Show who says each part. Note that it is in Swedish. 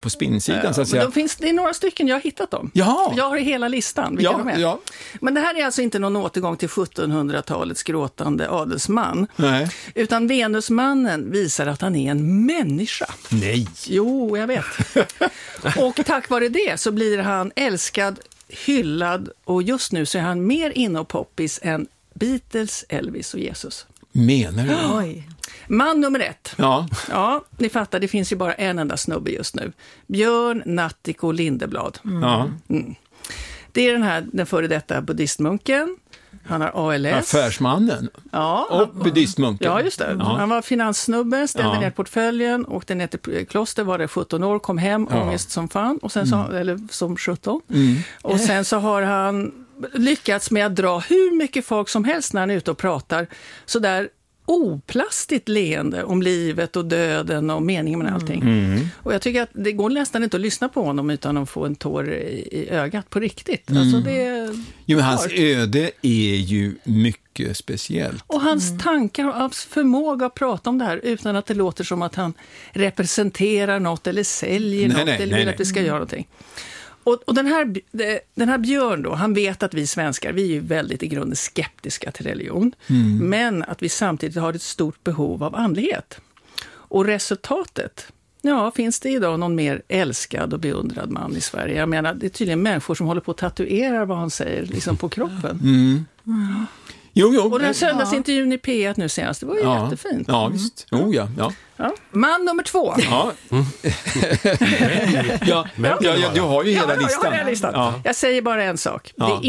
Speaker 1: på spinnsidan så att
Speaker 2: Äh, Men
Speaker 1: säga.
Speaker 2: de finns, det är några stycken, jag har hittat dem.
Speaker 1: Jaha.
Speaker 2: Jag har hela listan, vilka
Speaker 1: Ja,
Speaker 2: de är.
Speaker 1: ja.
Speaker 2: Men det här är alltså inte någon återgång till 1700-talets gråtande adelsman.
Speaker 1: Nej.
Speaker 2: Utan Venusmannen visar att han är en människa.
Speaker 1: Nej.
Speaker 2: Jo, jag vet. Och tack vare det så blir han älskad, hyllad och just nu så är han mer inne och poppis än Beatles, Elvis och Jesus.
Speaker 1: Menar du?
Speaker 3: Oj.
Speaker 2: Man nummer ett.
Speaker 1: Ja.
Speaker 2: Ja, ni fattar, det finns ju bara en enda snubbe just nu. Björn Nattiko Lindeblad.
Speaker 1: ja.
Speaker 2: Det är den här, den före detta buddhistmunken. Han har ALS.
Speaker 1: Affärsmannen
Speaker 2: Ja, han-
Speaker 1: och buddhistmunken.
Speaker 2: Ja, just det. Han var finanssnubbe, ställde
Speaker 1: Ja.
Speaker 2: ner portföljen, åkte ner till kloster, var där 17 år, kom hem, ångest som fan, och sen så, eller som 17. Och sen så har han lyckats med att dra hur mycket folk som helst när han är ute och pratar, sådär oplastigt leende om livet och döden och meningen med allting. Och jag tycker att det går nästan inte att lyssna på honom utan att få en tår i, i ögat på riktigt. Alltså det,
Speaker 1: Jo, men hans öde är ju mycket speciellt.
Speaker 2: Och hans tankar och hans förmåga att prata om det här utan att det låter som att han representerar något eller säljer
Speaker 1: Nej,
Speaker 2: något
Speaker 1: nej,
Speaker 2: eller vill
Speaker 1: nej, nej.
Speaker 2: att vi ska göra någonting. Och, och den, här, b- de- den här Björn då, han vet att vi svenskar, vi är ju väldigt i grunden skeptiska till religion.
Speaker 1: Mm.
Speaker 2: Men att vi samtidigt har ett stort behov av andlighet. Och resultatet? Ja, finns det idag någon mer älskad och beundrad man i Sverige? Jag menar, det är tydligen människor som håller på att tatuera vad han säger liksom på kroppen.
Speaker 1: Mm. Jo, jo.
Speaker 2: Och den här söndagsintervjun i P1 nu senast, det var ju
Speaker 1: ja.
Speaker 2: jättefint. Mm.
Speaker 1: Ja, visst. Jo, ja. ja.
Speaker 2: Ja. Man nummer två.
Speaker 1: Ja. ja, ja, ja, du har ju hela
Speaker 2: jag har
Speaker 1: listan.
Speaker 2: den här listan.
Speaker 1: Ja.
Speaker 2: Jag säger bara en sak. Det
Speaker 1: Ja.
Speaker 2: är